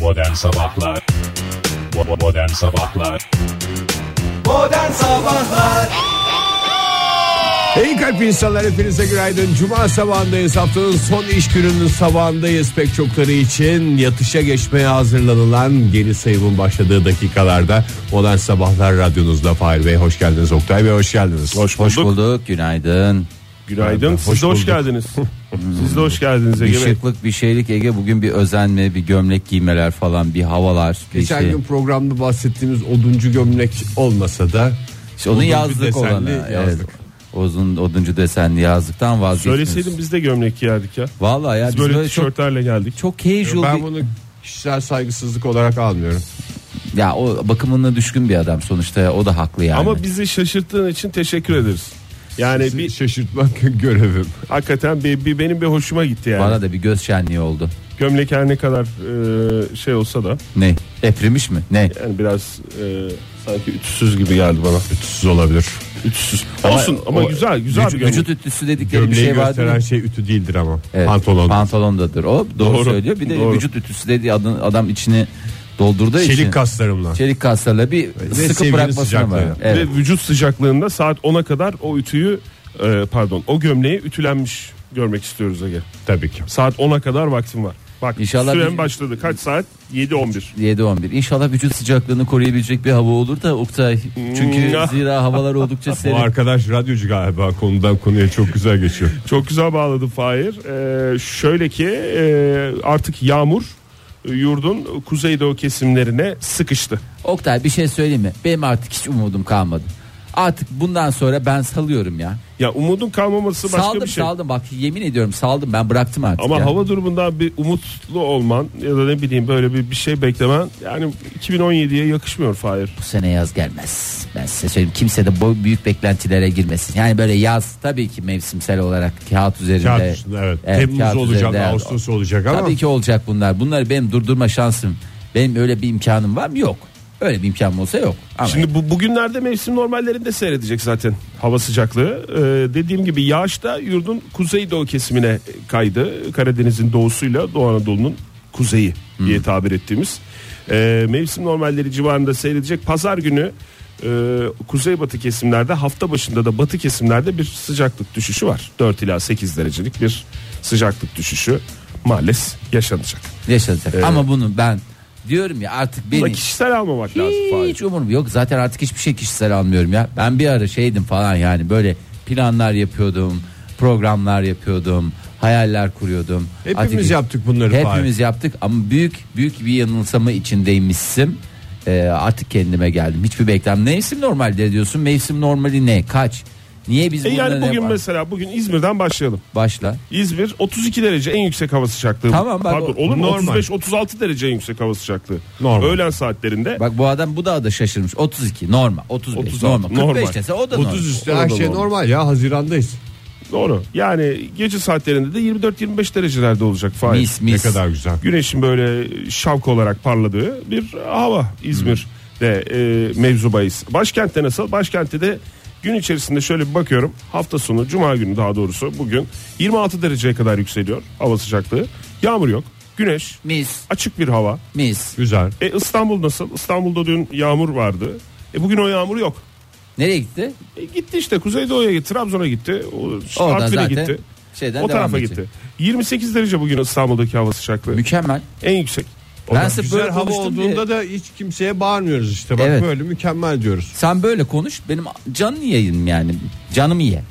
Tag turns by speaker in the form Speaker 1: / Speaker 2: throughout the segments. Speaker 1: Modern Sabahlar Bo- Modern Sabahlar
Speaker 2: Modern Sabahlar
Speaker 3: İyi kalp insanlar hepinize günaydın. Cuma sabahındayız. Haftanın son iş gününün sabahındayız. Pek çokları için yatışa geçmeye hazırlanılan geri sayımın başladığı dakikalarda Modern Sabahlar radyonuzda Fahir Bey hoş geldiniz. Oktay Bey hoş geldiniz.
Speaker 4: Hoş bulduk.
Speaker 5: bulduk. Günaydın.
Speaker 4: Günaydın. Siz
Speaker 3: Hoş
Speaker 4: de hoş
Speaker 3: bulduk.
Speaker 4: geldiniz. Siz de hoş geldiniz
Speaker 5: Bir şey-
Speaker 4: Ege Bey.
Speaker 5: şıklık bir şeylik Ege bugün bir özenme bir gömlek giymeler falan bir havalar. Bir
Speaker 3: Geçen
Speaker 5: şey.
Speaker 3: gün programda bahsettiğimiz oduncu gömlek olmasa da
Speaker 5: İşte onun
Speaker 3: oduncu
Speaker 5: yazlık
Speaker 3: desenli
Speaker 5: olanı. Evet.
Speaker 3: yazlık.
Speaker 5: Uzun oduncu desenli yazlıktan
Speaker 4: Söyleseydin
Speaker 5: vazgeçmiyoruz.
Speaker 4: biz de gömlek giyerdik ya.
Speaker 5: Vallahi ya
Speaker 4: Biz
Speaker 5: biz
Speaker 4: böyle,
Speaker 5: böyle çok
Speaker 4: tişörtlerle geldik.
Speaker 5: çok casual
Speaker 3: Ben
Speaker 5: bir-
Speaker 3: bunu kişisel saygısızlık olarak almıyorum.
Speaker 5: ya o bakımına düşkün bir adam sonuçta o da haklı yani.
Speaker 4: Ama bizi şaşırttığın için teşekkür ederiz. Yani
Speaker 3: Sizi
Speaker 4: bir
Speaker 3: şaşırtmak görevim.
Speaker 4: hakikaten bir, bir benim bir hoşuma gitti yani.
Speaker 5: Bana da bir göz şenliği oldu.
Speaker 4: Gömlek her ne kadar e, şey olsa da
Speaker 5: Ne? Eprimiş mi? Ne?
Speaker 4: yani biraz e, sanki ütüsüz gibi geldi bana.
Speaker 3: Ütüsüz olabilir.
Speaker 4: Ütüsüz. Olsun ama
Speaker 5: o-
Speaker 4: güzel güzel
Speaker 5: Vücut,
Speaker 4: bir gömlek.
Speaker 5: vücut ütüsü dedikleri bir
Speaker 3: Gömleği
Speaker 5: şey vardı.
Speaker 3: gösteren şey ütü değildir ama.
Speaker 5: Evet,
Speaker 3: Pantolon.
Speaker 5: Pantolondadır. O doğru,
Speaker 4: Doğru,
Speaker 5: söylüyor. Bir de
Speaker 4: doğru.
Speaker 5: vücut ütüsü dediği adam, adam içini doldurduğu için.
Speaker 3: Çelik kaslarımla.
Speaker 5: Çelik kaslarla bir
Speaker 3: sevgili
Speaker 5: sıkı bırakmasına var.
Speaker 3: sıcaklığı.
Speaker 5: Evet.
Speaker 4: Ve vücut sıcaklığında saat 10'a kadar o ütüyü e, pardon o gömleği ütülenmiş görmek istiyoruz Ege.
Speaker 3: Tabii ki.
Speaker 4: Saat 10'a kadar vaktim var. Bak
Speaker 5: İnşallah
Speaker 4: süren
Speaker 5: bir-
Speaker 4: başladı. Kaç saat? 7.11.
Speaker 5: 7-11. İnşallah vücut sıcaklığını koruyabilecek bir hava olur da Oktay. Çünkü
Speaker 4: Hmm.
Speaker 5: zira havalar oldukça
Speaker 3: Bu
Speaker 5: serin.
Speaker 3: arkadaş radyocu galiba konudan konuya çok güzel geçiyor.
Speaker 4: Çok güzel bağladı Fahir. Ee, şöyle ki e, artık yağmur e, yurdun kuzeydoğu kesimlerine sıkıştı.
Speaker 5: Oktay bir şey söyleyeyim mi? Benim artık hiç umudum kalmadı. Artık bundan sonra ben salıyorum ya.
Speaker 4: Ya umudun kalmaması başka
Speaker 5: saldım
Speaker 4: bir şey.
Speaker 5: saldım bak yemin ediyorum saldım ben bıraktım artık.
Speaker 4: Ama
Speaker 5: ya.
Speaker 4: hava durumundan bir umutlu olman ya da ne bileyim böyle bir, bir şey beklemen yani 2017'ye yakışmıyor Fahir.
Speaker 5: bu sene yaz gelmez. Ben size söyleyeyim kimse de bu büyük beklentilere girmesin. Yani böyle yaz tabii ki mevsimsel olarak kağıt üzerinde.
Speaker 3: Kağıt üstünde evet. Temmuz
Speaker 5: kağıt
Speaker 3: olacak,
Speaker 5: üzerinde.
Speaker 3: Ağustos olacak ama
Speaker 5: Tabii ki olacak bunlar. Bunları benim durdurma şansım. Benim öyle bir imkanım var mı? Yok. Öyle bir imkanım olsa yok. Ama
Speaker 4: Şimdi bu bugünlerde mevsim normallerinde seyredecek zaten hava sıcaklığı. Ee, dediğim gibi yağış da yurdun kuzeydoğu kesimine kaydı. Karadeniz'in doğusuyla Doğu Anadolu'nun kuzeyi diye tabir ettiğimiz. Ee, mevsim normalleri civarında seyredecek. Pazar günü e, kuzeybatı kesimlerde hafta başında da batı kesimlerde bir sıcaklık düşüşü var. 4 ila 8 derecelik bir sıcaklık düşüşü maalesef yaşanacak.
Speaker 5: yaşanacak. Ama bunu ben diyorum ya artık
Speaker 4: Bunu da
Speaker 5: beni
Speaker 4: kişisel almamak lazım. Fahir.
Speaker 5: hiç umurum yok. Zaten artık hiçbir şey kişisel almıyorum ya. Ben bir ara şeydim falan yani böyle planlar yapıyordum, programlar yapıyordum, hayaller kuruyordum.
Speaker 3: hepimiz
Speaker 5: Artık-
Speaker 3: yaptık bunları. Fahir.
Speaker 5: Hepimiz yaptık ama büyük büyük bir yanılsama içindeymişsim. Ee, artık kendime geldim. Hiçbir beklentim. Mevsim normalde diyorsun. Mevsim normali ne? Kaç? Niye biz
Speaker 4: E yani
Speaker 5: bunları
Speaker 4: bugün
Speaker 5: hep-
Speaker 4: mesela bugün İzmir'den başlayalım.
Speaker 5: başla?
Speaker 4: İzmir 32 derece en yüksek hava sıcaklığı.
Speaker 5: Tamam bak,
Speaker 4: Pardon olur mu?
Speaker 3: normal.
Speaker 4: 35-36 derece en yüksek hava sıcaklığı.
Speaker 3: Normal.
Speaker 4: Öğlen saatlerinde.
Speaker 5: Bak bu adam bu da da şaşırmış. 32 normal, 35
Speaker 4: 36
Speaker 5: normal, 45
Speaker 4: normal.
Speaker 5: dese o da
Speaker 3: 30
Speaker 5: normal.
Speaker 3: üstü
Speaker 4: Orada
Speaker 3: her
Speaker 4: da
Speaker 3: şey
Speaker 4: normal.
Speaker 3: normal ya Haziran'dayız.
Speaker 4: Doğru. Yani gece saatlerinde de 24-25 derecelerde olacak. Faiz.
Speaker 5: Mis mis.
Speaker 3: Ne kadar güzel.
Speaker 4: Güneşin böyle şavk olarak parladığı bir hava İzmir'de
Speaker 5: Hmm.
Speaker 4: e, mevzu bahis. Başkentte nasıl? Başkentte de gün içerisinde şöyle bir bakıyorum. Hafta sonu cuma günü daha doğrusu bugün 26 dereceye kadar yükseliyor hava sıcaklığı. Yağmur yok. Güneş.
Speaker 5: Mis
Speaker 4: Açık bir hava.
Speaker 5: mis.
Speaker 3: Güzel.
Speaker 4: E İstanbul nasıl? İstanbul'da dün yağmur vardı. E bugün o yağmur yok.
Speaker 5: Nereye gitti?
Speaker 4: E gitti işte Kuzeydoğu'ya gitti, Trabzon'a gitti, o-
Speaker 5: Oradan
Speaker 4: Artvin'e
Speaker 5: zaten
Speaker 4: gitti.
Speaker 5: şeyden
Speaker 4: O tarafa
Speaker 5: devam
Speaker 4: gitti.
Speaker 5: edecek.
Speaker 4: 28 derece bugün İstanbul'daki hava sıcaklığı.
Speaker 5: Mükemmel.
Speaker 4: en yüksek.
Speaker 3: O
Speaker 5: Ben
Speaker 3: da
Speaker 5: sırf
Speaker 3: güzel
Speaker 5: böyle
Speaker 3: hava
Speaker 5: konuştum
Speaker 3: olduğunda
Speaker 5: diye-
Speaker 3: da hiç kimseye bağırmıyoruz işte. Bak
Speaker 5: Evet.
Speaker 3: böyle mükemmel diyoruz.
Speaker 5: Sen böyle konuş benim canını yayayım yani. Canımı ye.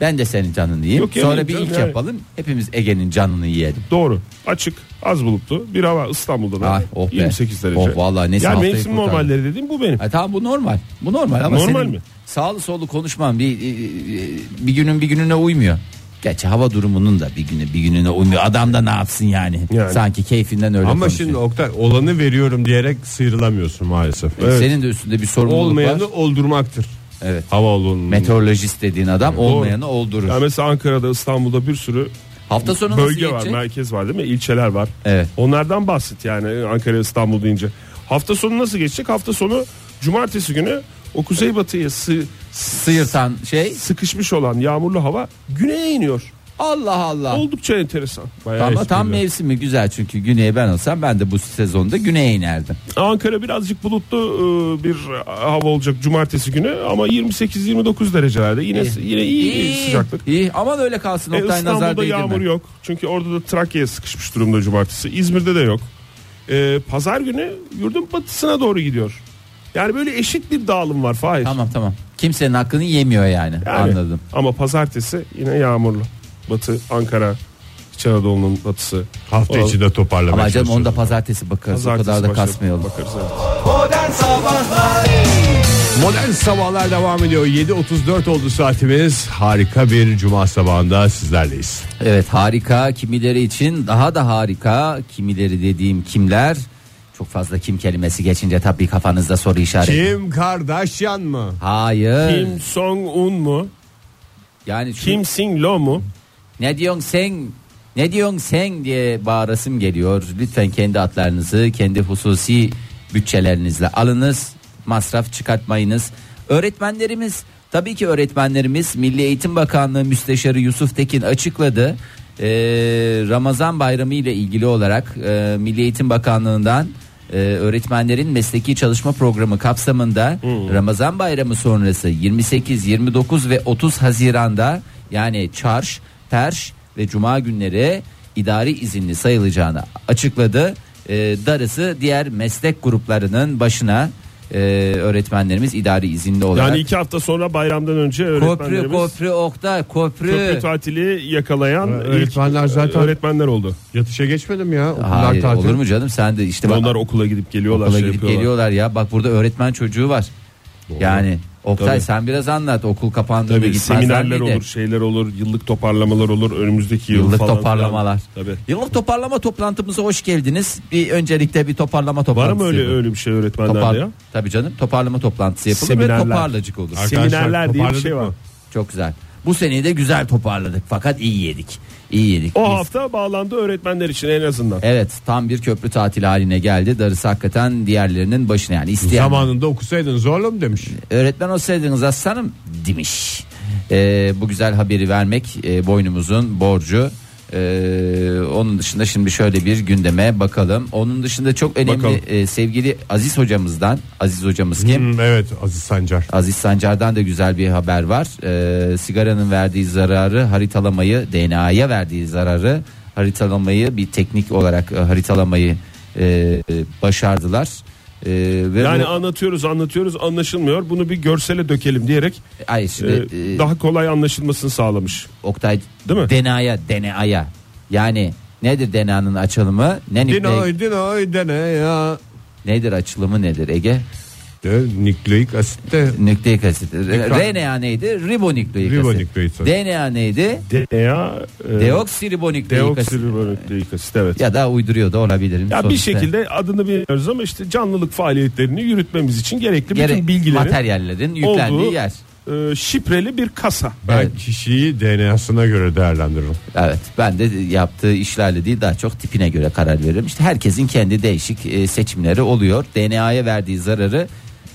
Speaker 5: Ben de senin canını yiyeyim.
Speaker 4: Yok, yemeyeyim
Speaker 5: Sonra bir
Speaker 4: canım,
Speaker 5: ilk
Speaker 4: yani.
Speaker 5: yapalım. Hepimiz Ege'nin canını yiyelim.
Speaker 4: Doğru. Açık, az bulutlu bir hava İstanbul'da da
Speaker 5: Ay, oh be.
Speaker 4: 28 derece.
Speaker 5: Oh, vallahi neyse
Speaker 4: yani
Speaker 5: haftayı
Speaker 4: mevsim
Speaker 5: kurtardı.
Speaker 4: normalleri dediğim bu benim.
Speaker 5: Ha, tamam bu normal. Bu normal ama
Speaker 4: Normal
Speaker 5: senin
Speaker 4: mi?
Speaker 5: Sağlı sollu konuşman bir e, bir günün bir gününe uymuyor. Gerçi hava durumunun da bir günü bir gününe uymuyor. Adam da ne yapsın yani?
Speaker 4: Yani.
Speaker 5: Sanki keyfinden öyle
Speaker 3: Ama
Speaker 5: konuşuyor.
Speaker 3: şimdi Oktay olanı veriyorum diyerek sıyrılamıyorsun maalesef.
Speaker 5: E, Senin de üstünde bir sorumluluk
Speaker 3: Olmayanı
Speaker 5: var.
Speaker 3: oldurmaktır.
Speaker 5: Evet.
Speaker 3: Hava olduğunu.
Speaker 5: Meteorolojist dediğin adam olmayanı oldurur.
Speaker 4: Yani mesela Ankara'da, İstanbul'da bir sürü
Speaker 5: Hafta sonu nasıl
Speaker 4: bölge var,
Speaker 5: geçecek?
Speaker 4: merkez var değil mi? İlçeler var.
Speaker 5: Evet.
Speaker 4: Onlardan bahset yani Ankara, İstanbul deyince. Hafta sonu nasıl geçecek? Hafta sonu cumartesi günü o kuzeybatıya sı-
Speaker 5: Sıyırtan şey
Speaker 4: sıkışmış olan yağmurlu hava güneye iniyor.
Speaker 5: Allah Allah.
Speaker 4: Oldukça enteresan.
Speaker 3: Bayağı
Speaker 5: Tam, tam
Speaker 3: esprili.
Speaker 5: mevsimi güzel çünkü güneye ben olsam ben de bu sezonda güneye inerdim.
Speaker 4: Ankara birazcık bulutlu e, bir hava olacak cumartesi günü ama 28-29 derecelerde yine yine iyi, sıcaklık.
Speaker 5: iyi. Aman öyle kalsın
Speaker 4: E,
Speaker 5: Oktay nazar
Speaker 4: İstanbul'da
Speaker 5: değdirme.
Speaker 4: yağmur yok. Çünkü orada da Trakya'ya sıkışmış durumda cumartesi. İzmir'de de yok. E, Pazar günü yurdun batısına doğru gidiyor. Yani böyle eşit bir dağılım var Fahir.
Speaker 5: Tamam tamam. Kimsenin hakkını yemiyor yani.
Speaker 4: Yani.
Speaker 5: Anladım.
Speaker 4: Ama pazartesi yine yağmurlu. Batı, Ankara, İç Anadolu'nun batısı.
Speaker 3: Hafta
Speaker 4: Oğlum.
Speaker 3: içi de toparlamaya
Speaker 5: Ama canım
Speaker 3: çalışıyoruz.
Speaker 5: onu da pazartesi bakarız.
Speaker 4: Pazartesi
Speaker 5: o kadar da
Speaker 4: başlayalım.
Speaker 5: kasmayalım.
Speaker 4: Bakarız, evet.
Speaker 2: Modern Sabahlar
Speaker 3: Modern sabahlar devam ediyor. 7.34 oldu saatimiz. Harika bir cuma sabahında sizlerleyiz.
Speaker 5: Evet harika kimileri için daha da harika kimileri dediğim kimler çok fazla kim kelimesi geçince tabii kafanızda soru işareti.
Speaker 3: Kim Kardashian mı?
Speaker 5: Hayır.
Speaker 4: Kim Song-un mu?
Speaker 5: Yani şu,
Speaker 4: Kim Sing-lo mu?
Speaker 5: ne diyorsun sen? Ne diyorsun sen diye bağırasım geliyor. Lütfen kendi atlarınızı kendi hususi bütçelerinizle alınız. Masraf çıkartmayınız. Öğretmenlerimiz tabii ki öğretmenlerimiz Milli Eğitim Bakanlığı Müsteşarı Yusuf Tekin açıkladı. Ee, Ramazan Bayramı ile ilgili olarak e, Milli Eğitim Bakanlığı'ndan Ee, öğretmenlerin mesleki çalışma programı kapsamında Ramazan bayramı sonrası 28, 29 ve 30 Haziran'da yani çarş, perş ve cuma günleri idari izinli sayılacağını açıkladı. Ee, darısı diğer meslek gruplarının başına e, öğretmenlerimiz idari izinli olarak.
Speaker 4: Yani iki hafta sonra bayramdan önce
Speaker 5: köprü
Speaker 4: öğretmenlerimiz köprü,
Speaker 5: köprü Oktay köprü.
Speaker 4: tatili yakalayan
Speaker 3: Ha,
Speaker 4: ilk
Speaker 3: öğretmenler zaten-
Speaker 4: öğretmenler oldu.
Speaker 3: Yatışa geçmedim ya. Okullar
Speaker 5: Hayır
Speaker 3: tatil.
Speaker 5: olur mu canım sen de işte bak-
Speaker 4: Onlar okula gidip geliyorlar.
Speaker 5: Okula
Speaker 4: şey
Speaker 5: gidip
Speaker 4: yapıyorlar.
Speaker 5: geliyorlar ya. Bak burada öğretmen çocuğu var. Yani Oktay
Speaker 4: Tabii.
Speaker 5: sen biraz anlat. Okul kapandığında
Speaker 4: Tabii
Speaker 5: gitmezler
Speaker 4: seminerler
Speaker 5: miydi?
Speaker 4: olur, şeyler olur, yıllık toparlamalar olur, önümüzdeki yıl
Speaker 5: Yıllık
Speaker 4: falan
Speaker 5: toparlamalar.
Speaker 4: filan. Tabii.
Speaker 5: Yıllık toparlama toplantımıza hoş geldiniz. Bir öncelikle bir toparlama
Speaker 4: Var
Speaker 5: toplantısı.
Speaker 4: mı öyle
Speaker 5: yapalım.
Speaker 4: öyle bir şey öğretmenlerde
Speaker 5: Topar-
Speaker 4: ya?
Speaker 5: Tabii canım toparlama toplantısı yapılır
Speaker 4: Seminerler.
Speaker 5: ve toparlacık olur.
Speaker 3: Arkadaşlar,
Speaker 4: Seminerler diye bir şey
Speaker 3: toparladık
Speaker 4: var.
Speaker 3: mı?
Speaker 5: Çok güzel. Bu seneyi de güzel toparladık fakat iyi yedik. İyi yedik.
Speaker 4: O
Speaker 5: Biz-
Speaker 4: hafta bağlandı öğretmenler için en azından.
Speaker 5: Evet tam bir köprü tatili haline geldi. Darısı hakikaten diğerlerinin başına yani isteyen
Speaker 3: Zamanında okusaydınız zorla mı demiş.
Speaker 5: öğretmen olsaydınız aslanım demiş. Ee, bu güzel haberi vermek e, boynumuzun borcu. Ee, onun dışında şimdi şöyle bir gündeme bakalım. Onun dışında çok
Speaker 4: Bakalım.
Speaker 5: önemli e, sevgili Aziz hocamızdan. Aziz hocamız kim?
Speaker 3: Hmm, evet Aziz Sancar.
Speaker 5: Aziz Sancar'dan da güzel bir haber var. Ee, sigaranın verdiği zararı haritalamayı, DNA'ya verdiği zararı haritalamayı bir teknik olarak e, haritalamayı e, e, başardılar. Ee, ve
Speaker 4: Yani
Speaker 5: bu-
Speaker 4: anlatıyoruz anlatıyoruz anlaşılmıyor. Bunu bir görsele dökelim diyerek
Speaker 5: Ay
Speaker 4: e,
Speaker 5: şimdi e,
Speaker 4: daha kolay anlaşılmasını sağlamış.
Speaker 5: Oktay
Speaker 4: Değil mi?
Speaker 5: DNA'ya DNA'ya yani nedir DNA'nın açılımı ne nükle-
Speaker 3: Dinoy dinoy dene ya.
Speaker 5: nedir açılımı nedir Ege
Speaker 3: De, nükleik asit de
Speaker 5: nükleik asit RNA neydi ribonükleik asit
Speaker 3: Ribonükleik asit.
Speaker 5: DNA neydi
Speaker 4: DNA e,
Speaker 5: deoksiribonükleik asit
Speaker 4: deoksiribonükleik asit evet.
Speaker 5: ya da uyduruyor da olabilirim
Speaker 4: Ya bir
Speaker 5: sonuçta.
Speaker 4: şekilde adını bilmiyoruz ama işte canlılık faaliyetlerini yürütmemiz için gerekli
Speaker 5: Gere-
Speaker 4: bütün bilgilerin
Speaker 5: materyallerin yüklendiği
Speaker 4: olduğu
Speaker 5: yer
Speaker 4: e, şifreli bir kasa.
Speaker 3: ben
Speaker 5: Evet.
Speaker 3: kişiyi DNA'sına göre değerlendiririm.
Speaker 5: Evet ben de yaptığı işlerle değil daha çok tipine göre karar veririm. İşte herkesin kendi değişik e, seçimleri oluyor. DNA'ya verdiği zararı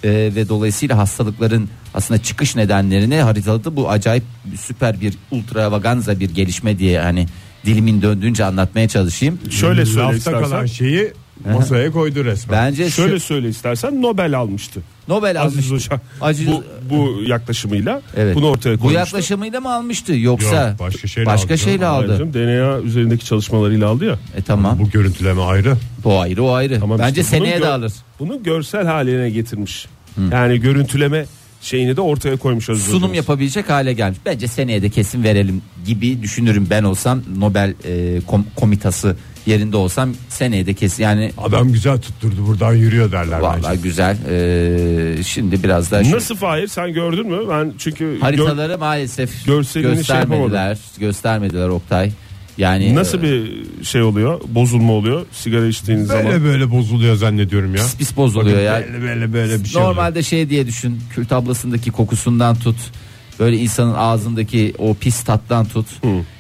Speaker 5: e, ve dolayısıyla hastalıkların aslında çıkış nedenlerini haritaladı. Bu acayip süper bir ultravaganza bir gelişme diye hani dilimin döndüğünce anlatmaya çalışayım.
Speaker 4: Şöyle E, söyle
Speaker 3: Lafta
Speaker 4: istersen.
Speaker 3: Hmm, kalan şeyi masaya koydu resmen.
Speaker 5: Bence şu-
Speaker 4: Şöyle söyle istersen Nobel almıştı.
Speaker 5: Nobel
Speaker 4: Aziz
Speaker 5: almıştı.
Speaker 4: Hoca
Speaker 5: Aziz-
Speaker 4: bu, bu yaklaşımıyla
Speaker 5: Evet.
Speaker 4: bunu ortaya
Speaker 5: Bu
Speaker 4: koymuştu.
Speaker 5: yaklaşımıyla mı almıştı yoksa
Speaker 3: Yok, başka şeyle
Speaker 5: başka
Speaker 3: aldı.
Speaker 5: şeyle
Speaker 4: Hayır
Speaker 5: aldı.
Speaker 4: canım, DNA üzerindeki çalışmalarıyla aldı ya.
Speaker 5: E tamam.
Speaker 3: Bu görüntüleme ayrı.
Speaker 5: Bu ayrı o ayrı.
Speaker 4: Hani Tamam
Speaker 5: Bence
Speaker 4: işte bunun
Speaker 5: seneye de
Speaker 4: gör-
Speaker 5: alır.
Speaker 4: Bunu görsel haline getirmiş. Yani görüntüleme şeyini de ortaya koymuş Aziz
Speaker 5: sunum
Speaker 4: hocamız.
Speaker 5: yapabilecek hale gelmiş. Bence seneye de kesin verelim gibi düşünürüm ben olsam Nobel e, kom- komitası yerinde olsam seneye de kesin yani
Speaker 3: Adam güzel tutturdu buradan yürüyor derler
Speaker 5: vallahi
Speaker 3: bence.
Speaker 5: güzel. E, şimdi biraz daha şu
Speaker 4: Nasıl Fahir sen gördün mü? Ben çünkü gör-
Speaker 5: haritaları maalesef
Speaker 4: görselini şey
Speaker 5: göstermediler. göstermediler Oktay. Yani
Speaker 4: Nasıl
Speaker 5: e,
Speaker 4: bir şey oluyor? Bozulma oluyor sigara içtiğin
Speaker 3: Böyle
Speaker 4: zaman.
Speaker 3: böyle bozuluyor zannediyorum ya.
Speaker 5: pis pis bozuluyor ya.
Speaker 4: e,
Speaker 3: Böyle böyle böyle bir şey oluyor.
Speaker 5: Normalde şey diye düşün. Kül tablasındaki kokusundan tut. Böyle insanın ağzındaki o pis tattan tut.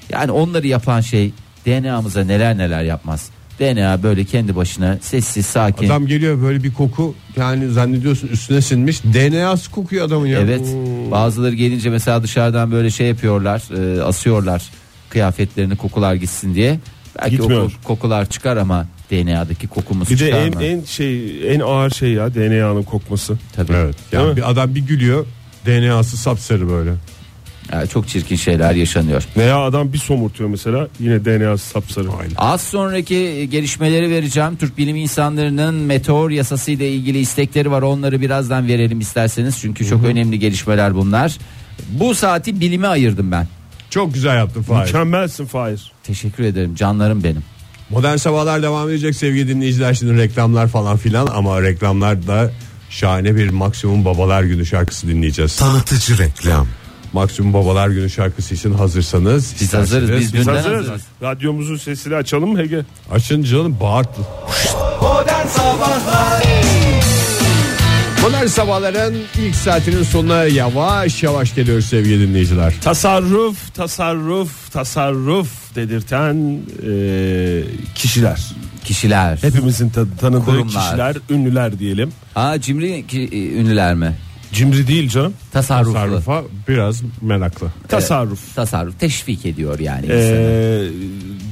Speaker 5: Yani onları yapan şey DNA'mıza neler neler yapmaz. DNA böyle kendi başına sessiz sakin.
Speaker 3: Adam geliyor böyle bir koku yani zannediyorsun üstüne sinmiş DNA'sı kokuyor adamın ya.
Speaker 5: Evet. Bazıları gelince mesela dışarıdan böyle şey yapıyorlar, e, asıyorlar kıyafetlerini kokular gitsin diye. Belki o ko-
Speaker 4: Gitmiyor.
Speaker 5: kokular çıkar ama DNA'daki kokumuz
Speaker 4: Bir de
Speaker 5: çıkar
Speaker 4: en,
Speaker 5: mı?
Speaker 4: en şey en ağır şey ya DNA'nın kokması.
Speaker 5: Tabii.
Speaker 3: Evet.
Speaker 4: Değil mi?
Speaker 3: Yani bir adam bir gülüyor. DNA'sı sapsarı böyle.
Speaker 5: Ya çok çirkin şeyler yaşanıyor.
Speaker 4: Veya adam bir somurtuyor mesela yine DNA sapsarı.
Speaker 3: Aynen.
Speaker 5: Az sonraki gelişmeleri vereceğim. Türk bilim insanlarının meteor yasası ile ilgili istekleri var. Onları birazdan verelim isterseniz. Çünkü çok önemli gelişmeler bunlar. Bu saati bilime ayırdım ben.
Speaker 3: Çok güzel yaptın Fahir.
Speaker 4: Mükemmelsin Fahir.
Speaker 5: Teşekkür ederim canlarım benim.
Speaker 3: Modern sabahlar devam edecek sevgili dinleyiciler. Şimdi reklamlar falan filan ama reklamlarda şahane bir Maksimum Babalar Günü şarkısı dinleyeceğiz.
Speaker 6: Tanıtıcı reklam.
Speaker 3: Maksimum Babalar Günü şarkısı için hazırsanız.
Speaker 5: Biz hazırız,
Speaker 3: isterseniz-
Speaker 5: biz
Speaker 4: Biz
Speaker 5: Dünden
Speaker 4: hazırız.
Speaker 5: hazırız.
Speaker 4: Radyomuzun sesini açalım mı Ege?
Speaker 3: Açın canım bağırt.
Speaker 2: Modern Sabahlar
Speaker 3: Modern sabahların ilk saatinin sonuna yavaş yavaş geliyoruz sevgili dinleyiciler.
Speaker 4: Tasarruf, tasarruf, tasarruf dedirten e, kişiler.
Speaker 5: Kişiler.
Speaker 4: Hepimizin ta- tanıdığı
Speaker 5: Kurumlar.
Speaker 4: kişiler, ünlüler diyelim.
Speaker 5: Ha cimri ki- e, ünlüler mi?
Speaker 4: Cimri değil canım.
Speaker 5: Tasarruflu. Tasarruf.
Speaker 3: Sarrufa biraz meraklı.
Speaker 4: Tasarruf.
Speaker 5: teşvik ediyor yani. insanı.
Speaker 4: Ee,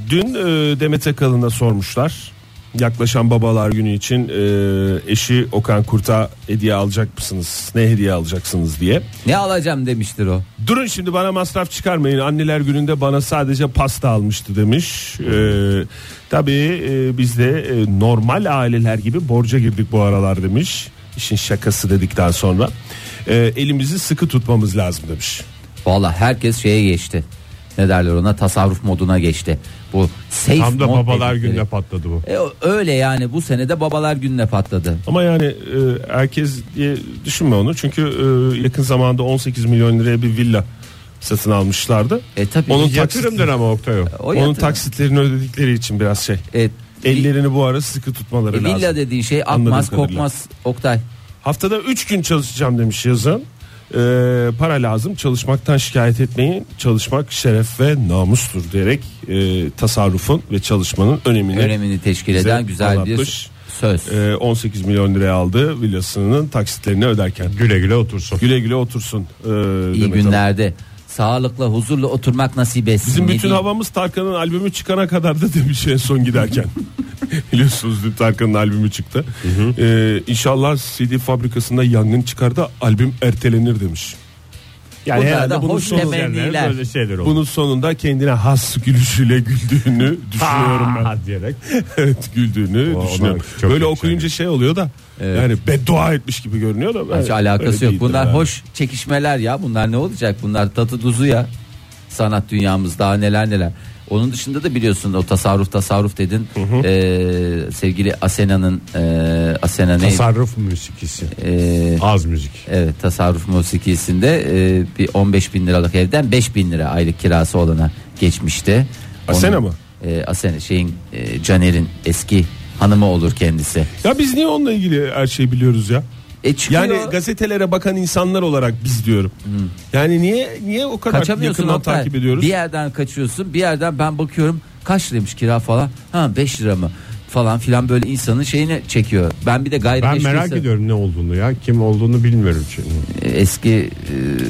Speaker 4: dün e, Demet Akalın'a sormuşlar. Yaklaşan babalar günü için e, eşi Okan Kurt'a hediye alacak mısınız? Ne hediye alacaksınız diye.
Speaker 5: Ne alacağım demiştir o.
Speaker 4: Durun şimdi bana masraf çıkarmayın. Anneler gününde bana sadece pasta almıştı demiş. Ee, tabii e, biz de e, normal aileler gibi borca girdik bu aralar demiş. İşin şakası dedikten sonra. Ee, elimizi sıkı tutmamız lazım demiş.
Speaker 5: Valla herkes şeye geçti. Ne derler ona tasarruf moduna geçti. Bu safe
Speaker 3: Tam da
Speaker 5: mod
Speaker 3: babalar
Speaker 5: dedikleri.
Speaker 3: gününe patladı bu.
Speaker 5: E, öyle yani bu sene de babalar gününe patladı.
Speaker 4: Ama yani e, herkes diye düşünme onu. Çünkü e, yakın zamanda 18 milyon liraya bir villa satın almışlardı.
Speaker 5: E tabii.
Speaker 4: Onun
Speaker 3: Yatırımdır ama Oktay o.
Speaker 5: O
Speaker 4: Onun
Speaker 5: yatırım.
Speaker 4: taksitlerini ödedikleri için biraz şey.
Speaker 5: E,
Speaker 4: Ellerini bu ara sıkı tutmaları
Speaker 5: e, villa
Speaker 4: lazım.
Speaker 5: dediğin şey
Speaker 4: Anladığım
Speaker 5: akmaz
Speaker 4: kadarıyla.
Speaker 5: kokmaz Oktay.
Speaker 4: Haftada 3 gün çalışacağım demiş yazın. E, para lazım çalışmaktan şikayet etmeyin çalışmak şeref ve namustur diyerek e, tasarrufun ve çalışmanın önemini
Speaker 5: Önemini teşkil
Speaker 4: bize
Speaker 5: eden güzel
Speaker 4: anlatmış.
Speaker 5: bir söz.
Speaker 4: e, 18 milyon liraya aldığı villasının taksitlerini öderken
Speaker 3: Güle güle otursun.
Speaker 4: Güle güle otursun. e,
Speaker 5: İyi
Speaker 4: Demet Hanım.
Speaker 5: günlerde sağlıkla huzurla oturmak nasip etsin.
Speaker 4: Bizim
Speaker 5: Ne
Speaker 4: bütün
Speaker 5: diyeyim?
Speaker 4: havamız Tarkan'ın albümü çıkana kadar da demiş en son giderken. Biliyorsunuz dün Tarkan'ın albümü çıktı. Ee, inşallah CD fabrikasında yangın çıkar da albüm ertelenir demiş. Yani
Speaker 5: Bunlar
Speaker 4: herhalde
Speaker 5: da
Speaker 4: bunun
Speaker 5: hoş
Speaker 4: sonu
Speaker 5: temenniler.
Speaker 3: Böyle şeyler olur.
Speaker 4: bunun sonunda kendine has gülüşüyle güldüğünü düşünüyorum ben.
Speaker 3: diyerek.
Speaker 4: evet güldüğünü
Speaker 3: O,
Speaker 4: düşünüyorum.
Speaker 3: ona çok
Speaker 4: Böyle
Speaker 3: yakışan
Speaker 4: okuyunca
Speaker 3: bir-
Speaker 4: şey oluyor da yani beddua etmiş gibi görünüyor da.
Speaker 5: Hiç
Speaker 4: öyle-
Speaker 5: alakası
Speaker 4: öyle
Speaker 5: yok.
Speaker 4: değildir
Speaker 5: Bunlar
Speaker 4: herhalde.
Speaker 5: hoş çekişmeler ya. Bunlar ne olacak? Bunlar tatı tuzu ya. Sanat dünyamız daha neler neler. Onun dışında da biliyorsun o tasarruf tasarruf dedin. Ee, sevgili Asena'nın e, Asena neydi?
Speaker 3: Tasarruf müzikisi.
Speaker 5: Ee,
Speaker 3: Az müzik.
Speaker 5: evet tasarruf musikisinde e, bir 15 bin liralık evden 5 bin lira aylık kirası olana geçmişti.
Speaker 4: Asena mı?
Speaker 5: E, Asena şeyin e, Caner'in eski hanımı olur kendisi.
Speaker 4: Ya biz niye onunla ilgili her şeyi biliyoruz ya?
Speaker 5: E çıkıyor.
Speaker 4: Yani gazetelere bakan insanlar olarak biz diyorum. Yani niye niye o kadar
Speaker 5: Hmm. Kaçamıyorsun
Speaker 4: yakından
Speaker 5: Oktay.
Speaker 4: takip ediyoruz?
Speaker 5: Bir yerden kaçıyorsun bir yerden ben bakıyorum kaç liraymış kira falan. Ha 5 lira mı falan filan böyle insanın şeyini çekiyor. Ben bir de gayri
Speaker 3: Ben
Speaker 5: meşru
Speaker 3: merak
Speaker 5: insan-
Speaker 3: ediyorum ne olduğunu ya. Kim olduğunu bilmiyorum çünkü.
Speaker 5: E, Eski e,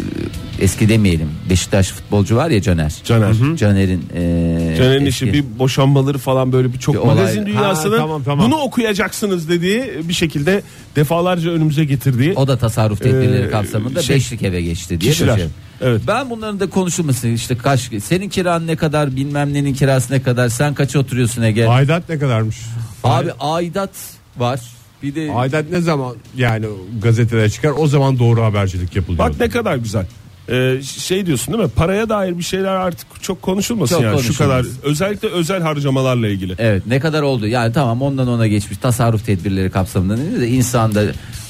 Speaker 5: eski demeyelim Beşiktaş futbolcu var ya Caner.
Speaker 4: Caner.
Speaker 5: Caner'in e,
Speaker 4: Caner'in
Speaker 5: eski-
Speaker 4: işi bir boşanmaları falan böyle bir çok
Speaker 5: Bir olay-
Speaker 4: magazin dünyasının
Speaker 3: Ha, tamam, tamam.
Speaker 4: bunu okuyacaksınız dediği bir şekilde defalarca önümüze getirdiği
Speaker 5: O da tasarruf tedbirleri
Speaker 4: Ee,
Speaker 5: kapsamında
Speaker 4: şey-
Speaker 5: beşlik eve geçti diye
Speaker 4: kişiler.
Speaker 5: bir şey.
Speaker 4: Evet.
Speaker 5: Ben bunların da konuşulması işte kaç senin kiran ne kadar bilmem nenin kirası ne kadar sen kaça oturuyorsun Ege?
Speaker 3: Aidat ne kadarmış?
Speaker 5: Abi aidat var. Bir de
Speaker 3: Aidat ne zaman yani gazetelere çıkar o zaman doğru habercilik yapılıyor.
Speaker 4: Bak ne kadar güzel. Ee, şey diyorsun değil mi? Paraya dair bir şeyler artık çok konuşulmasın
Speaker 5: Çok
Speaker 4: yani şu kadar
Speaker 5: konuşulmasın.
Speaker 4: özellikle özel harcamalarla ilgili.
Speaker 5: Evet ne kadar oldu yani tamam ondan ona geçmiş tasarruf tedbirleri kapsamında ne de insan da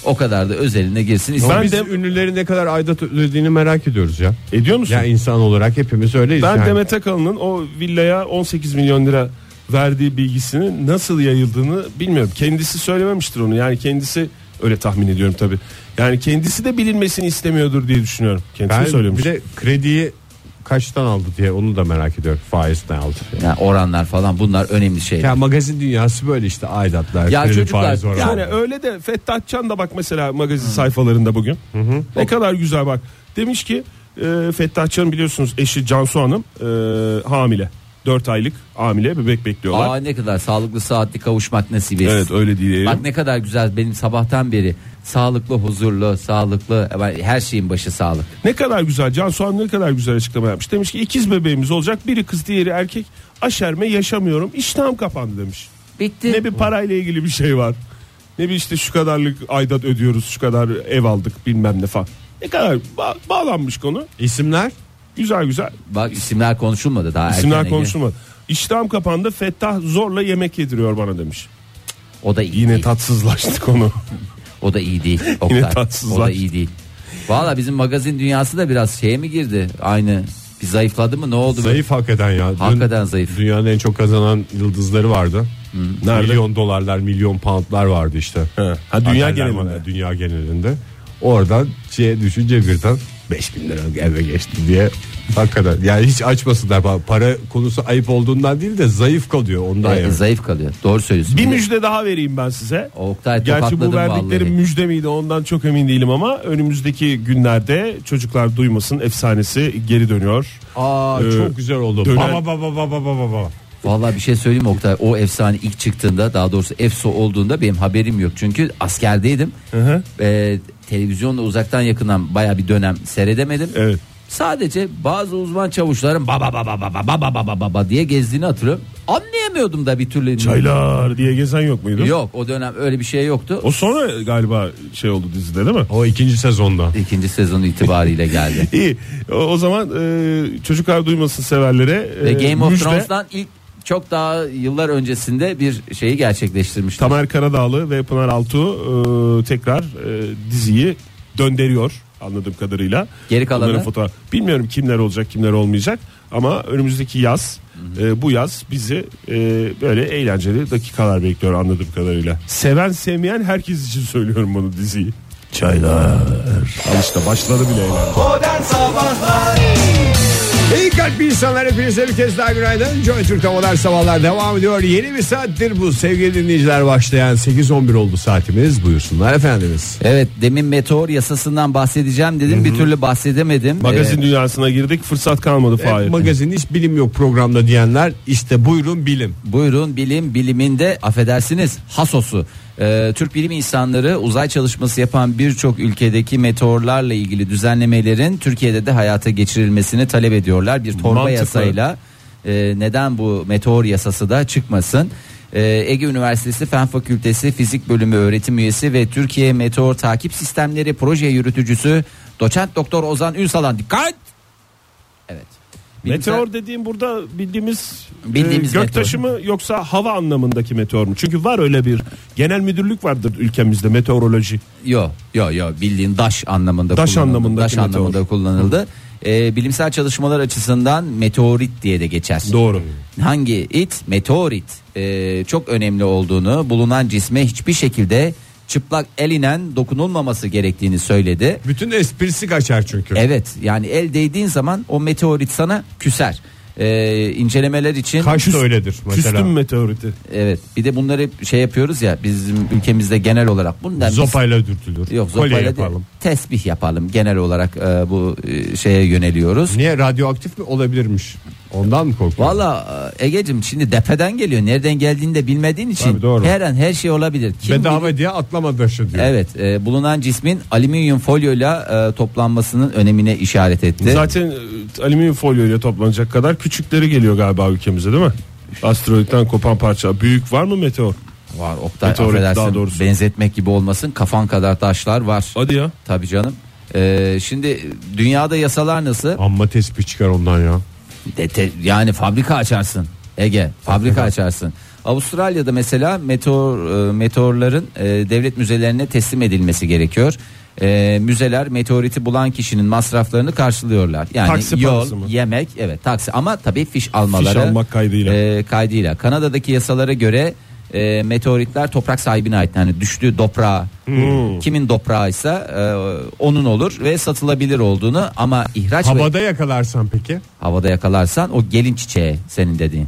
Speaker 5: o kadar da özeline girsin
Speaker 3: Ama
Speaker 5: istemem.
Speaker 3: biz
Speaker 4: de-
Speaker 3: ünlülerin ne kadar aidat ödediğini merak ediyoruz ya.
Speaker 4: Ediyor musun?
Speaker 3: Ya insan olarak hepimiz öyleyiz.
Speaker 4: Ben
Speaker 3: yani.
Speaker 4: Demet Akalın'ın o villaya 18 milyon lira verdiği bilgisinin nasıl yayıldığını bilmiyorum. Kendisi söylememiştir onu. Yani kendisi öyle tahmin ediyorum tabi. Yani kendisi de bilinmesini istemiyordur diye düşünüyorum. Kendisi
Speaker 3: ben
Speaker 4: söylemiş.
Speaker 3: bir de krediyi kaçtan aldı diye onu da merak ediyorum. Faiz ne aldı? diye.
Speaker 5: Yani oranlar falan bunlar önemli şeyler.
Speaker 3: Ya magazin dünyası böyle işte aidatlar,
Speaker 5: Ya
Speaker 3: kredi
Speaker 5: çocuklar,
Speaker 3: faiz oranı.
Speaker 4: Yani öyle de Fettah Can da bak mesela magazin sayfalarında bugün. Ne kadar güzel bak. Demiş ki e, Fettahçı'nın biliyorsunuz eşi Cansu Hanım e, hamile. 4 aylık hamile bebek bekliyorlar.
Speaker 5: Aa ne kadar sağlıklı saatli kavuşmak nasip etsin.
Speaker 4: evet öyle diyelim.
Speaker 5: Bak ne kadar güzel benim sabahtan beri sağlıklı, huzurlu, sağlıklı ama her şeyin başı sağlık.
Speaker 4: Ne kadar güzel Cansu Hanım ne kadar güzel açıklama yapmış. Demiş ki ikiz bebeğimiz olacak biri kız diğeri erkek. Aşerme yaşamıyorum iştahım kapandı demiş.
Speaker 5: Bitti.
Speaker 4: Ne bir parayla ilgili bir şey var. Ne bir işte şu kadarlık aidat ödüyoruz şu kadar ev aldık bilmem ne falan. Ne kadar ba- bağlanmış konu.
Speaker 3: İsimler?
Speaker 4: Güzel güzel.
Speaker 5: Bak isimler konuşulmadı daha.
Speaker 4: İsimler
Speaker 5: erken
Speaker 4: konuşulmadı. İştahım kapandı Fettah zorla yemek yediriyor bana demiş.
Speaker 5: O da iyi
Speaker 4: Yine
Speaker 5: değil.
Speaker 4: tatsızlaştı konu.
Speaker 5: o da iyi değil. Oktay.
Speaker 4: Yine
Speaker 5: o
Speaker 4: tatsızlar.
Speaker 5: da iyi değil. Valla bizim magazin dünyası da biraz şeye mi girdi? Aynı bir zayıfladı mı ne oldu?
Speaker 3: Zayıf hakikaten ya. Dün
Speaker 5: Hakikaten zayıf.
Speaker 3: Dünyanın en çok kazanan yıldızları vardı.
Speaker 4: Nerede?
Speaker 3: Milyon dolarlar, milyon poundlar vardı işte.
Speaker 4: Ha, dünya
Speaker 3: Haberler
Speaker 4: genelinde.
Speaker 3: var, Dünya genelinde. Oradan şeye düşünce birden 5000 lira eve geçti diye. Hakikaten yani hiç açmasınlar Pa- para konusu ayıp olduğundan değil de zayıf kalıyor ondan
Speaker 5: Ee,
Speaker 3: yani.
Speaker 5: Zayıf kalıyor. Doğru söylüyorsun.
Speaker 4: Bir
Speaker 5: de-
Speaker 4: müjde daha vereyim ben size.
Speaker 5: Oktay
Speaker 4: Gerçi bu
Speaker 5: tokatladım
Speaker 4: verdiklerim
Speaker 5: vallahi.
Speaker 4: müjde miydi ondan çok emin değilim ama önümüzdeki günlerde çocuklar duymasın efsanesi geri dönüyor.
Speaker 3: Aa
Speaker 4: Ee,
Speaker 3: çok güzel oldu.
Speaker 4: döner-
Speaker 3: Baba baba baba baba baba.
Speaker 5: Valla bir şey söyleyeyim mi Oktay. O efsane ilk çıktığında daha doğrusu EFSO olduğunda benim haberim yok. Çünkü askerdeydim. Ee, televizyonda uzaktan yakından baya bir dönem seyredemedim.
Speaker 4: Evet.
Speaker 5: Sadece bazı uzman çavuşların baba baba baba baba baba baba diye gezdiğini hatırlıyorum. Anlayamıyordum da bir türlü.
Speaker 4: Çaylar diye gezen yok muydu?
Speaker 5: Yok o dönem öyle bir şey yoktu.
Speaker 4: O sonra galiba şey oldu dizide değil mi?
Speaker 3: O ikinci sezonda.
Speaker 5: İkinci sezon itibariyle geldi.
Speaker 4: İyi. O, o zaman e, çocuklar duymasın severlere e,
Speaker 5: Ve Game of
Speaker 4: müjde.
Speaker 5: Thrones'tan ilk çok daha yıllar öncesinde bir şeyi gerçekleştirmişti.
Speaker 4: Tamer Karadağlı ve Pınar Altuğ e, tekrar e, diziyi döndürüyor anladığım kadarıyla.
Speaker 5: Geri kalanı?
Speaker 4: Onların fotoğraf- Bilmiyorum kimler olacak kimler olmayacak ama önümüzdeki yaz e, bu yaz bizi e, böyle eğlenceli dakikalar bekliyor anladığım kadarıyla. Seven sevmeyen herkes için söylüyorum bunu diziyi. Çaylar. Al işte başladı bile eğlence.
Speaker 2: Modern Sabahlar
Speaker 3: İyi kalp insanlar hepinize bir kez daha günaydın. Joy Türk'te modern sabahlar devam ediyor. Yeni bir saattir bu sevgili dinleyiciler başlayan 8-11 oldu saatimiz. Buyursunlar efendimiz.
Speaker 5: Evet demin meteor yasasından bahsedeceğim dedim bir türlü bahsedemedim.
Speaker 4: Magazin
Speaker 5: Ee,
Speaker 4: dünyasına girdik fırsat kalmadı Fahir.
Speaker 3: Hep magazin E, hiç bilim yok programda diyenler işte buyurun bilim.
Speaker 5: Buyurun bilim biliminde affedersiniz hasosu. Ee, Türk bilim insanları uzay çalışması yapan birçok ülkedeki meteorlarla ilgili düzenlemelerin Türkiye'de de hayata geçirilmesini talep ediyorlar. Bir torba
Speaker 4: Mantıklı.
Speaker 5: yasayla e, neden bu meteor yasası da çıkmasın? Ee, Ege Üniversitesi Fen Fakültesi Fizik Bölümü öğretim üyesi ve Türkiye Meteor Takip Sistemleri Proje Yürütücüsü Doçent Doktor Ozan Ünsalan dikkat! Evet. Bilimsel-
Speaker 4: Meteor dediğim burada bildiğimiz,
Speaker 5: Bildiğimiz
Speaker 4: e, göktaşı mı yoksa hava anlamındaki meteor mu? Çünkü var öyle bir genel müdürlük vardır ülkemizde meteoroloji.
Speaker 5: Yo yo yo bildiğin daş anlamında
Speaker 4: Daş
Speaker 5: kullanıldı.
Speaker 4: anlamındaki
Speaker 5: daş
Speaker 4: meteor.
Speaker 5: anlamında kullanıldı. Ee, bilimsel çalışmalar açısından meteorit diye de geçer.
Speaker 4: Doğru.
Speaker 5: Hangi it? Meteorit. Ee, çok önemli olduğunu, bulunan cisme hiçbir şekilde çıplak elinen dokunulmaması gerektiğini söyledi.
Speaker 3: Bütün esprisi kaçar çünkü.
Speaker 5: Evet yani el değdiğin zaman o meteorit sana küser. Ee, incelemeler için
Speaker 3: Kaş da öyledir mesela.
Speaker 4: Küstüm meteoriti.
Speaker 5: evet bir de bunları şey yapıyoruz ya bizim ülkemizde genel olarak bundan biz-
Speaker 3: Zopayla dürtülür.
Speaker 5: Yok
Speaker 3: Kolye
Speaker 5: zopayla
Speaker 3: yapalım.
Speaker 5: yapalım. tesbih yapalım. Genel olarak e, bu e, şeye yöneliyoruz.
Speaker 3: Niye radyoaktif mi olabilirmiş? Ondan mı korkuyorsun?
Speaker 5: Valla e, Ege'cim şimdi depeden geliyor. Nereden geldiğini de bilmediğin için
Speaker 3: Tabii, doğru.
Speaker 5: her an her şey olabilir. Kim bilir-
Speaker 3: Bedava diye atlama taşı diyor.
Speaker 5: Evet e, bulunan cismin alüminyum folyoyla e, toplanmasının önemine işaret etti.
Speaker 4: Zaten e, alüminyum folyo ile toplanacak kadar küçükleri geliyor galiba ülkemize değil mi? Asteroitten kopan parça. Büyük var mı meteor?
Speaker 5: Var Oktay
Speaker 4: Meteorit daha
Speaker 5: affedersin,
Speaker 4: doğrusu.
Speaker 5: benzetmek gibi olmasın kafan kadar taşlar var.
Speaker 4: Hadi ya.
Speaker 5: Tabii canım. E, şimdi dünyada yasalar nasıl?
Speaker 3: Amma tespih çıkar ondan ya.
Speaker 5: De- E, te- yani fabrika açarsın Ege fabrika açarsın. Avustralya'da mesela meteor e, meteorların e, devlet müzelerine teslim edilmesi gerekiyor. E, müzeler meteoriti bulan kişinin masraflarını karşılıyorlar. Yani
Speaker 4: Taksi
Speaker 5: yol,
Speaker 4: parası mı?
Speaker 5: yemek, evet taksi ama tabii fiş almaları
Speaker 4: Fiş almak kaydıyla.
Speaker 5: e, kaydıyla. Kanada'daki yasalara göre e, meteoritler toprak sahibine ait. Yani düştüğü toprağa
Speaker 4: Hmm.
Speaker 5: kimin toprağıysa e, onun olur ve satılabilir olduğunu ama ihraç ve-
Speaker 3: Havada yakalarsan peki?
Speaker 5: havada yakalarsan o gelin çiçeği senin dediğin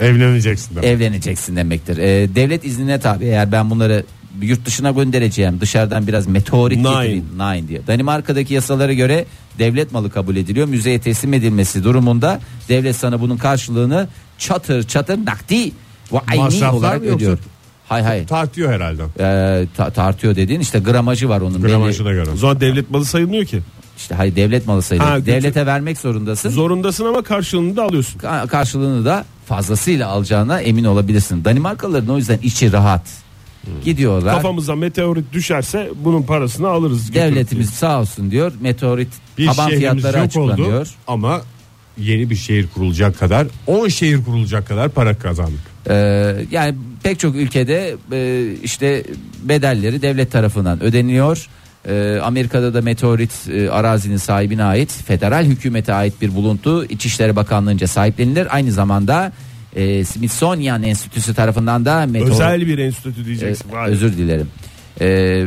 Speaker 3: Evleneceksin. demek.
Speaker 5: evleneceksin demektir. Ee, devlet iznine tabi eğer ben bunları yurt dışına göndereceğim dışarıdan biraz meteorit
Speaker 4: Nine.
Speaker 5: getireyim. Nine diye. Danimarka'daki yasalara göre devlet malı kabul ediliyor. Müzeye teslim edilmesi durumunda devlet sana bunun karşılığını çatır çatır nakdi ve ayni
Speaker 3: Masraflar
Speaker 5: olarak
Speaker 3: mı yoksa-
Speaker 5: ödüyor. Hay hay.
Speaker 3: Tartıyor herhalde.
Speaker 5: Ee, ta- tartıyor dediğin işte gramajı var onun.
Speaker 3: Gramajına göre.
Speaker 4: O zaman devlet malı sayılmıyor ki.
Speaker 5: işte hayır devlet malı sayılır.
Speaker 4: Ha, götür-
Speaker 5: Devlete vermek zorundasın.
Speaker 4: Zorundasın ama karşılığını da alıyorsun.
Speaker 5: Ka- karşılığını da fazlasıyla alacağına emin olabilirsin. Danimarkalıların o yüzden içi rahat.
Speaker 3: Hmm.
Speaker 5: Gidiyorlar.
Speaker 4: Kafamıza meteorit düşerse bunun parasını alırız. götürüp
Speaker 5: Devletimiz sağ olsun diyor. Meteorit
Speaker 3: Bir
Speaker 5: taban
Speaker 3: şehrimiz
Speaker 5: fiyatları
Speaker 3: yok
Speaker 5: açıklanıyor.
Speaker 3: oldu ama yeni bir şehir kurulacak kadar 10 şehir kurulacak kadar para kazandık.
Speaker 5: Ee, yani pek çok ülkede e, işte bedelleri devlet tarafından ödeniyor. Ee, Amerika'da da meteorit e, arazinin sahibine ait federal hükümete ait bir buluntu İçişleri Bakanlığı'nca sahiplenilir. Aynı zamanda e, Smithsonian Enstitüsü tarafından da meteor,
Speaker 4: Özel bir enstitü
Speaker 5: Ee,
Speaker 4: diyeceksin. Vay.
Speaker 5: özür dilerim. Ee,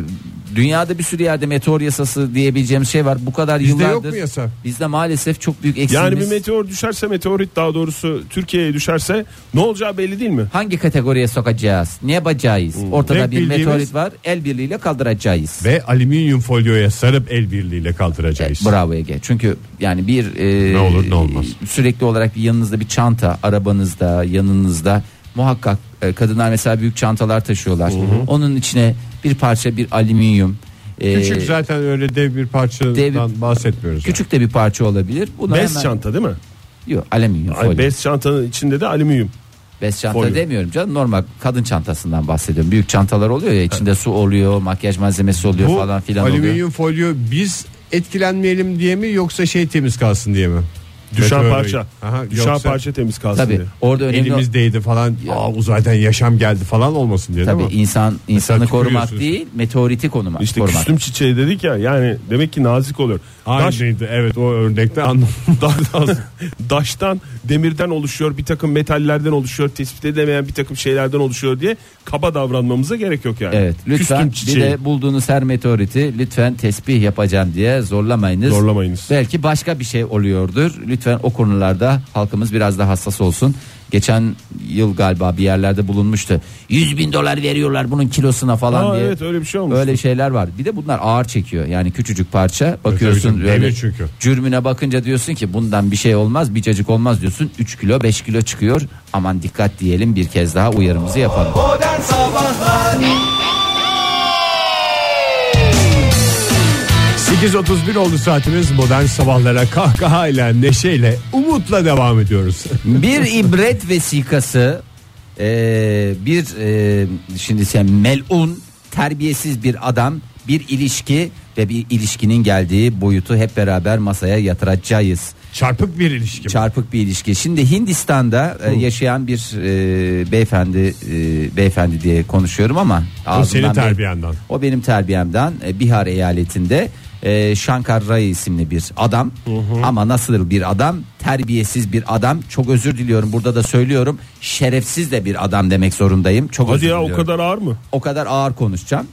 Speaker 5: dünyada bir sürü yerde meteor yasası diyebileceğimiz şey var. Bu kadar
Speaker 3: Bizde
Speaker 5: yıllardır
Speaker 3: yok mu yasa?
Speaker 5: bizde maalesef çok büyük eksiğimiz.
Speaker 4: Yani bir meteor düşerse meteorit daha doğrusu Türkiye'ye düşerse ne olacağı belli değil mi?
Speaker 5: hangi kategoriye sokacağız? Ne yapacağız? Ortada
Speaker 3: Hmm. Tek
Speaker 5: bir
Speaker 3: bildiğimiz-
Speaker 5: meteorit var. El birliğiyle kaldıracağız.
Speaker 3: Ve alüminyum folyoya sarıp el birliğiyle kaldıracağız.
Speaker 5: Bravo Ege. Çünkü yani bir e,
Speaker 3: Ne olur ne olmaz.
Speaker 5: sürekli olarak bir yanınızda bir çanta, arabanızda, yanınızda muhakkak e, kadınlar mesela büyük çantalar taşıyorlar. Onun içine bir parça bir alüminyum e,
Speaker 3: Küçük zaten öyle dev bir parçadan
Speaker 5: dev-
Speaker 3: bahsetmiyoruz. yani.
Speaker 5: küçük de bir parça olabilir. Buna
Speaker 4: Bez
Speaker 5: hemen-
Speaker 4: çanta değil mi?
Speaker 5: Yok, alüminyum
Speaker 4: Ay,
Speaker 5: folyo.
Speaker 4: bez çantanın içinde de alüminyum.
Speaker 5: Bez çanta
Speaker 4: Folyo.
Speaker 5: demiyorum canım normal kadın çantasından bahsediyorum. Büyük çantalar oluyor ya içinde su oluyor, makyaj malzemesi oluyor
Speaker 3: Bu
Speaker 5: falan filan
Speaker 3: alüminyum
Speaker 5: oluyor.
Speaker 3: folyo biz etkilenmeyelim diye mi yoksa şey temiz kalsın diye mi?
Speaker 4: Düşen
Speaker 3: Meteor-
Speaker 4: parça.
Speaker 3: Aha,
Speaker 4: Düşen
Speaker 3: yoksa
Speaker 4: parça temiz kalsın
Speaker 5: Tabii
Speaker 4: diye.
Speaker 5: orada önemli
Speaker 3: Elimiz değdi falan. Aa uzaydan yaşam geldi falan olmasın diye
Speaker 5: tabii
Speaker 3: değil mi?
Speaker 5: insan insanı korumak
Speaker 3: tükürüyorsunuz.
Speaker 5: değil, meteoriti korumak.
Speaker 4: İşte
Speaker 5: korumak.
Speaker 4: küstüm çiçeği dedik ya yani demek ki nazik olur. Daş,
Speaker 3: Aynıydı evet o örnekte anladım.
Speaker 4: da- da- daştan, demirden oluşuyor, bir takım metallerden oluşuyor, tespit edemeyen bir takım şeylerden oluşuyor diye kaba davranmamıza gerek yok yani.
Speaker 5: Evet lütfen
Speaker 4: Küstüm
Speaker 5: bir
Speaker 4: çiçeği.
Speaker 5: de bulduğunuz her meteoriti lütfen tesbih yapacağım diye zorlamayınız.
Speaker 4: Zorlamayınız.
Speaker 5: Belki başka bir şey oluyordur. Lütfen o konularda halkımız biraz daha hassas olsun. Geçen yıl galiba bir yerlerde bulunmuştu. 100 bin dolar veriyorlar bunun kilosuna falan
Speaker 4: Aa,
Speaker 5: diye.
Speaker 4: evet, öyle bir şey olmuş.
Speaker 5: Öyle şeyler var. Bir de bunlar ağır çekiyor. Yani küçücük parça bakıyorsun.
Speaker 3: tabii,
Speaker 5: böyle
Speaker 3: demir çünkü.
Speaker 5: Cürmüne bakınca diyorsun ki bundan bir şey olmaz bir cacık olmaz diyorsun. 3 kilo 5 kilo çıkıyor. Aman dikkat diyelim bir kez daha uyarımızı yapalım.
Speaker 2: Modern Sabahlar
Speaker 3: 8.31 oldu saatimiz modern sabahlara kahkahayla neşeyle umutla devam ediyoruz.
Speaker 5: bir ibret vesikası eee, bir eee, şimdi sen melun terbiyesiz bir adam bir ilişki ve bir ilişkinin geldiği boyutu hep beraber masaya yatıracağız.
Speaker 3: Çarpık bir ilişki.
Speaker 5: Çarpık bir ilişki. Şimdi Hindistan'da e, yaşayan bir e, beyefendi e, beyefendi diye konuşuyorum ama ağzımdan
Speaker 3: senin
Speaker 5: be-
Speaker 3: terbiyenden.
Speaker 5: o benim terbiyemden e, Bihar eyaletinde e, Shankar Ray isimli bir adam. Ama nasıl bir adam? Terbiyesiz bir adam. Çok özür diliyorum. Burada da söylüyorum. Şerefsiz de bir adam demek zorundayım. Çok
Speaker 4: Hadi
Speaker 5: özür
Speaker 4: ya o
Speaker 5: diliyorum
Speaker 4: kadar ağır mı?
Speaker 5: o kadar ağır konuşacağım.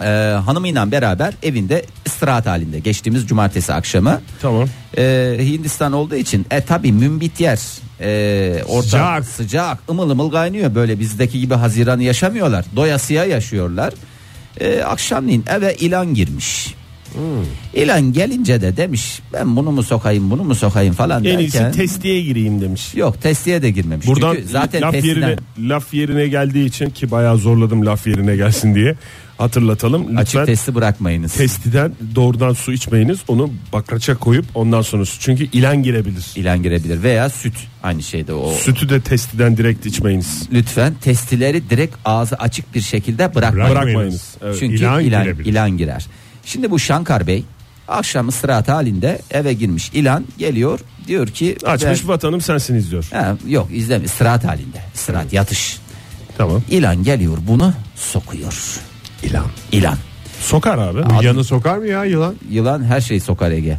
Speaker 5: Ee, hanımıyla beraber evinde istirahat halinde geçtiğimiz cumartesi akşamı.
Speaker 4: Tamam.
Speaker 5: Ee, Hindistan olduğu için e tabi mümbit yer. Ee, ortam
Speaker 3: Sıcak.
Speaker 5: sıcak. ımıl ımıl kaynıyor böyle bizdeki gibi Haziran'ı yaşamıyorlar. Doyasıya yaşıyorlar. Ee, akşamleyin eve ilan girmiş.
Speaker 4: Hmm.
Speaker 5: İlan gelince de demiş ben bunu mu sokayım bunu mu sokayım falan
Speaker 4: En
Speaker 5: derken.
Speaker 4: iyisi testiye gireyim demiş.
Speaker 5: Yok testiye de girmemiş.
Speaker 4: Buradan
Speaker 5: Çünkü zaten
Speaker 4: laf
Speaker 5: testiden-
Speaker 4: yerine laf yerine geldiği için ki bayağı zorladım laf yerine gelsin diye hatırlatalım.
Speaker 5: açık
Speaker 4: Lütfen
Speaker 5: testi bırakmayınız.
Speaker 4: testiden doğrudan su içmeyiniz. Onu bakraça koyup ondan sonra su. Çünkü ilen girebilir.
Speaker 5: ilan girebilir veya süt aynı şeyde o.
Speaker 4: Sütü de testiden direkt içmeyiniz.
Speaker 5: Lütfen testileri direkt ağzı açık bir şekilde bırakmayın.
Speaker 3: Bırakmayın.
Speaker 4: Bırakmayınız. Evet.
Speaker 5: Çünkü
Speaker 3: ilan
Speaker 5: ilan, ilan,
Speaker 3: girebilir.
Speaker 5: girer. Şimdi bu Şankar Bey akşam istirahat halinde eve girmiş. İlan geliyor diyor ki
Speaker 4: Açmış
Speaker 5: ben-
Speaker 4: vatanım sensiniz diyor.
Speaker 5: Ha, yok izleme istirahat halinde. İstirahat yatış.
Speaker 4: Tamam.
Speaker 5: İlan geliyor bunu sokuyor.
Speaker 3: İlan.
Speaker 5: İlan.
Speaker 4: Sokar abi.
Speaker 3: Yanı sokar mı ya yılan?
Speaker 5: Yılan her şeyi sokar Ege.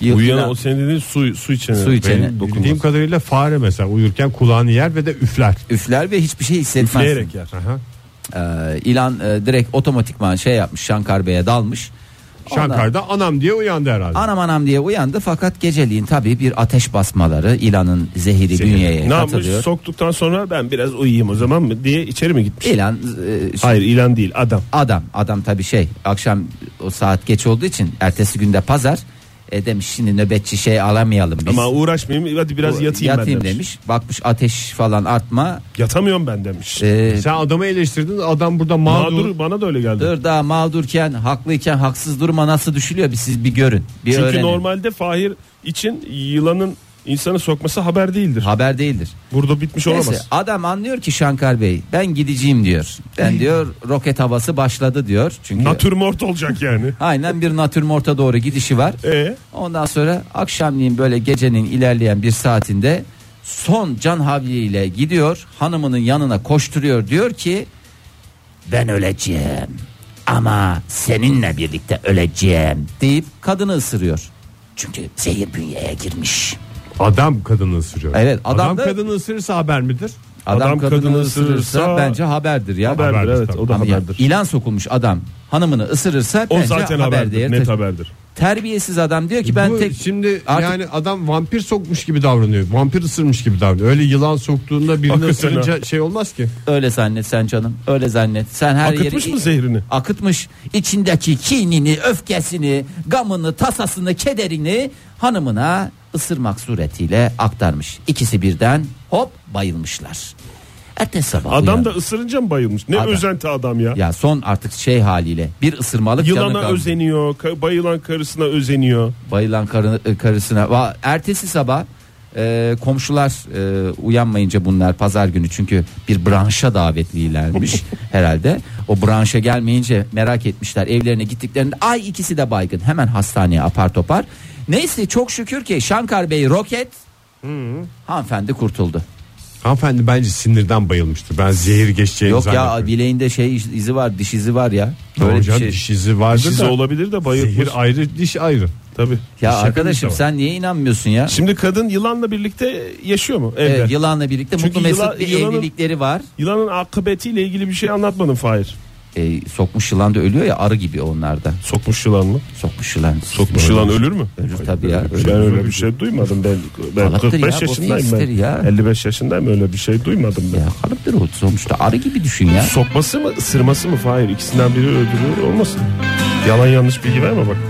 Speaker 5: Yıl-
Speaker 4: Uyuyana
Speaker 5: yılan-
Speaker 4: o senin dediğin su, su içene.
Speaker 5: Su içene.
Speaker 4: Benim dokunmaz.
Speaker 3: Bildiğim kadarıyla fare mesela uyurken kulağını yer ve de üfler.
Speaker 5: üfler ve hiçbir şey hissetmez.
Speaker 4: Üfleyerek yer.
Speaker 3: Aha.
Speaker 5: Ee, ilan e, direkt otomatikman şey yapmış Şankar Bey'e dalmış. Ondan-
Speaker 3: Şankar'da anam diye uyandı herhalde.
Speaker 5: Anam anam diye uyandı fakat geceliğin tabii bir ateş basmaları ilanın zehiri
Speaker 4: ne
Speaker 5: bünyeye
Speaker 4: yapmış
Speaker 5: katılıyor.
Speaker 4: soktuktan sonra ben biraz uyuyayım o zaman mı diye içeri mi gitmiş?
Speaker 5: İlan e,
Speaker 4: Hayır ilan değil adam.
Speaker 5: adam adam tabii şey akşam o saat geç olduğu için ertesi günde pazar e, demiş şimdi nöbetçi şey alamayalım biz.
Speaker 4: Ama uğraşmayayım hadi biraz yatayım, ben demiş.
Speaker 5: demiş. Bakmış ateş falan artma.
Speaker 4: Yatamıyorum ben demiş.
Speaker 5: E,
Speaker 3: Sen adamı eleştirdin adam burada mağdur.
Speaker 4: Mağdur, bana da öyle geldi.
Speaker 5: Dırda mağdurken haklıyken haksız duruma nasıl düşülüyor bir siz bir görün. Bir
Speaker 4: Çünkü
Speaker 5: öğrenin.
Speaker 4: normalde Fahir için yılanın insanı sokması haber değildir.
Speaker 5: haber değildir.
Speaker 4: Burada bitmiş olamaz.
Speaker 5: Neyse, adam anlıyor ki Şankar Bey ben gideceğim diyor. Ben diyor roket havası başladı diyor. Çünkü
Speaker 4: Natürmort olacak yani.
Speaker 5: aynen bir natürmorta doğru gidişi var.
Speaker 4: E
Speaker 5: Ondan sonra akşamleyin böyle gecenin ilerleyen bir saatinde son can havliyle gidiyor. Hanımının yanına koşturuyor diyor ki ben öleceğim ama seninle birlikte öleceğim deyip kadını ısırıyor. Çünkü zehir bünyeye girmiş.
Speaker 3: Adam kadını ısırıyor.
Speaker 5: Evet, E, adam
Speaker 3: adam
Speaker 5: da-
Speaker 3: kadını ısırırsa haber midir?
Speaker 5: Adam,
Speaker 4: Adam
Speaker 5: kadını,
Speaker 4: kadını
Speaker 5: ısırırsa,
Speaker 4: ısırırsa-
Speaker 5: bence haberdir ya.
Speaker 4: haberdir,
Speaker 3: Haberdir
Speaker 4: evet
Speaker 3: tabii.
Speaker 4: o da
Speaker 5: Ama ya,
Speaker 4: haberdir.
Speaker 5: ilan sokulmuş adam hanımını ısırırsa
Speaker 4: o
Speaker 5: bence
Speaker 4: zaten
Speaker 5: haber
Speaker 4: haberdir.
Speaker 5: değeri
Speaker 4: Net E
Speaker 5: taşır.
Speaker 4: haberdir.
Speaker 5: Terbiyesiz adam diyor ki ben
Speaker 3: Bu
Speaker 5: tek
Speaker 3: şimdi
Speaker 5: Artık-
Speaker 3: yani adam vampir sokmuş gibi davranıyor. Vampir ısırmış gibi davranıyor. Öyle yılan soktuğunda birini
Speaker 4: Hakikaten
Speaker 3: ısırınca şey olmaz ki.
Speaker 5: öyle zannet sen canım. Öyle zannet. Sen her
Speaker 4: Akıtmış
Speaker 5: yeri
Speaker 4: mı zehrini?
Speaker 5: akıtmış içindeki kinini, öfkesini, gamını, tasasını, kederini hanımına ısırmak suretiyle aktarmış. İkisi birden hop bayılmışlar. Ertesi sabah
Speaker 4: Adam
Speaker 5: uyan-
Speaker 4: da ısırınca mı bayılmış? Ne
Speaker 5: Adam.
Speaker 4: özenti adam ya.
Speaker 5: ya son artık şey haliyle bir ısırmalık canı
Speaker 4: Yılana
Speaker 5: kalmış.
Speaker 4: özeniyor, ka- bayılan karısına özeniyor.
Speaker 5: bayılan karı- e, karısına. Va- Ertesi sabah e, komşular e, uyanmayınca bunlar pazar günü çünkü bir branşa davetlilermiş herhalde. O branşa gelmeyince merak etmişler evlerine gittiklerinde ay ikisi de baygın hemen hastaneye apar topar. Neyse çok şükür ki Şankar Bey roket
Speaker 4: Hmm.
Speaker 5: hanımefendi kurtuldu.
Speaker 3: Hanımefendi bence sinirden bayılmıştır. Ben zehir geçeceğini
Speaker 5: Yok ya
Speaker 3: zannetmiyorum.
Speaker 5: bileğinde şey iz- izi var diş izi var ya.
Speaker 3: Ya
Speaker 5: Böyle bir
Speaker 3: hocam
Speaker 5: şey.
Speaker 3: diş izi vardır
Speaker 4: Siz
Speaker 3: da
Speaker 4: olabilir de bayılmış.
Speaker 3: zehir ayrı diş ayrı.
Speaker 4: Tabii.
Speaker 5: Ya
Speaker 3: Şaka bir
Speaker 5: arkadaşım
Speaker 3: şey
Speaker 5: sen niye inanmıyorsun ya?
Speaker 4: Şimdi kadın yılanla birlikte yaşıyor mu evde?
Speaker 5: Evet, yılanla birlikte
Speaker 4: Çünkü
Speaker 5: mutlu mesut
Speaker 4: yılan-
Speaker 5: bir
Speaker 4: yılanın-
Speaker 5: evlilikleri var.
Speaker 4: Yılanın akıbetiyle ilgili bir şey anlatmadın Fahir.
Speaker 5: e, sokmuş yılan da ölüyor ya arı gibi onlarda.
Speaker 4: Sokmuş yılan mı?
Speaker 5: Sokmuş yılan.
Speaker 4: Sokmuş yılan şey ölür mü?
Speaker 5: Ölür tabii ya.
Speaker 4: Ben
Speaker 5: ölür.
Speaker 4: öyle bir şey duymadım ben. Ben
Speaker 5: Salaktır
Speaker 4: 45
Speaker 5: ya, bu
Speaker 4: yaşındayım ben.
Speaker 5: filistir ya.
Speaker 4: 55 yaşındayım öyle bir şey duymadım ben.
Speaker 5: Ya kalıptır o sonuçta arı gibi düşün ya.
Speaker 4: Sokması mı ısırması mı Fahir? İkisinden biri öldürür olmasın. Yalan yanlış bilgi verme bak.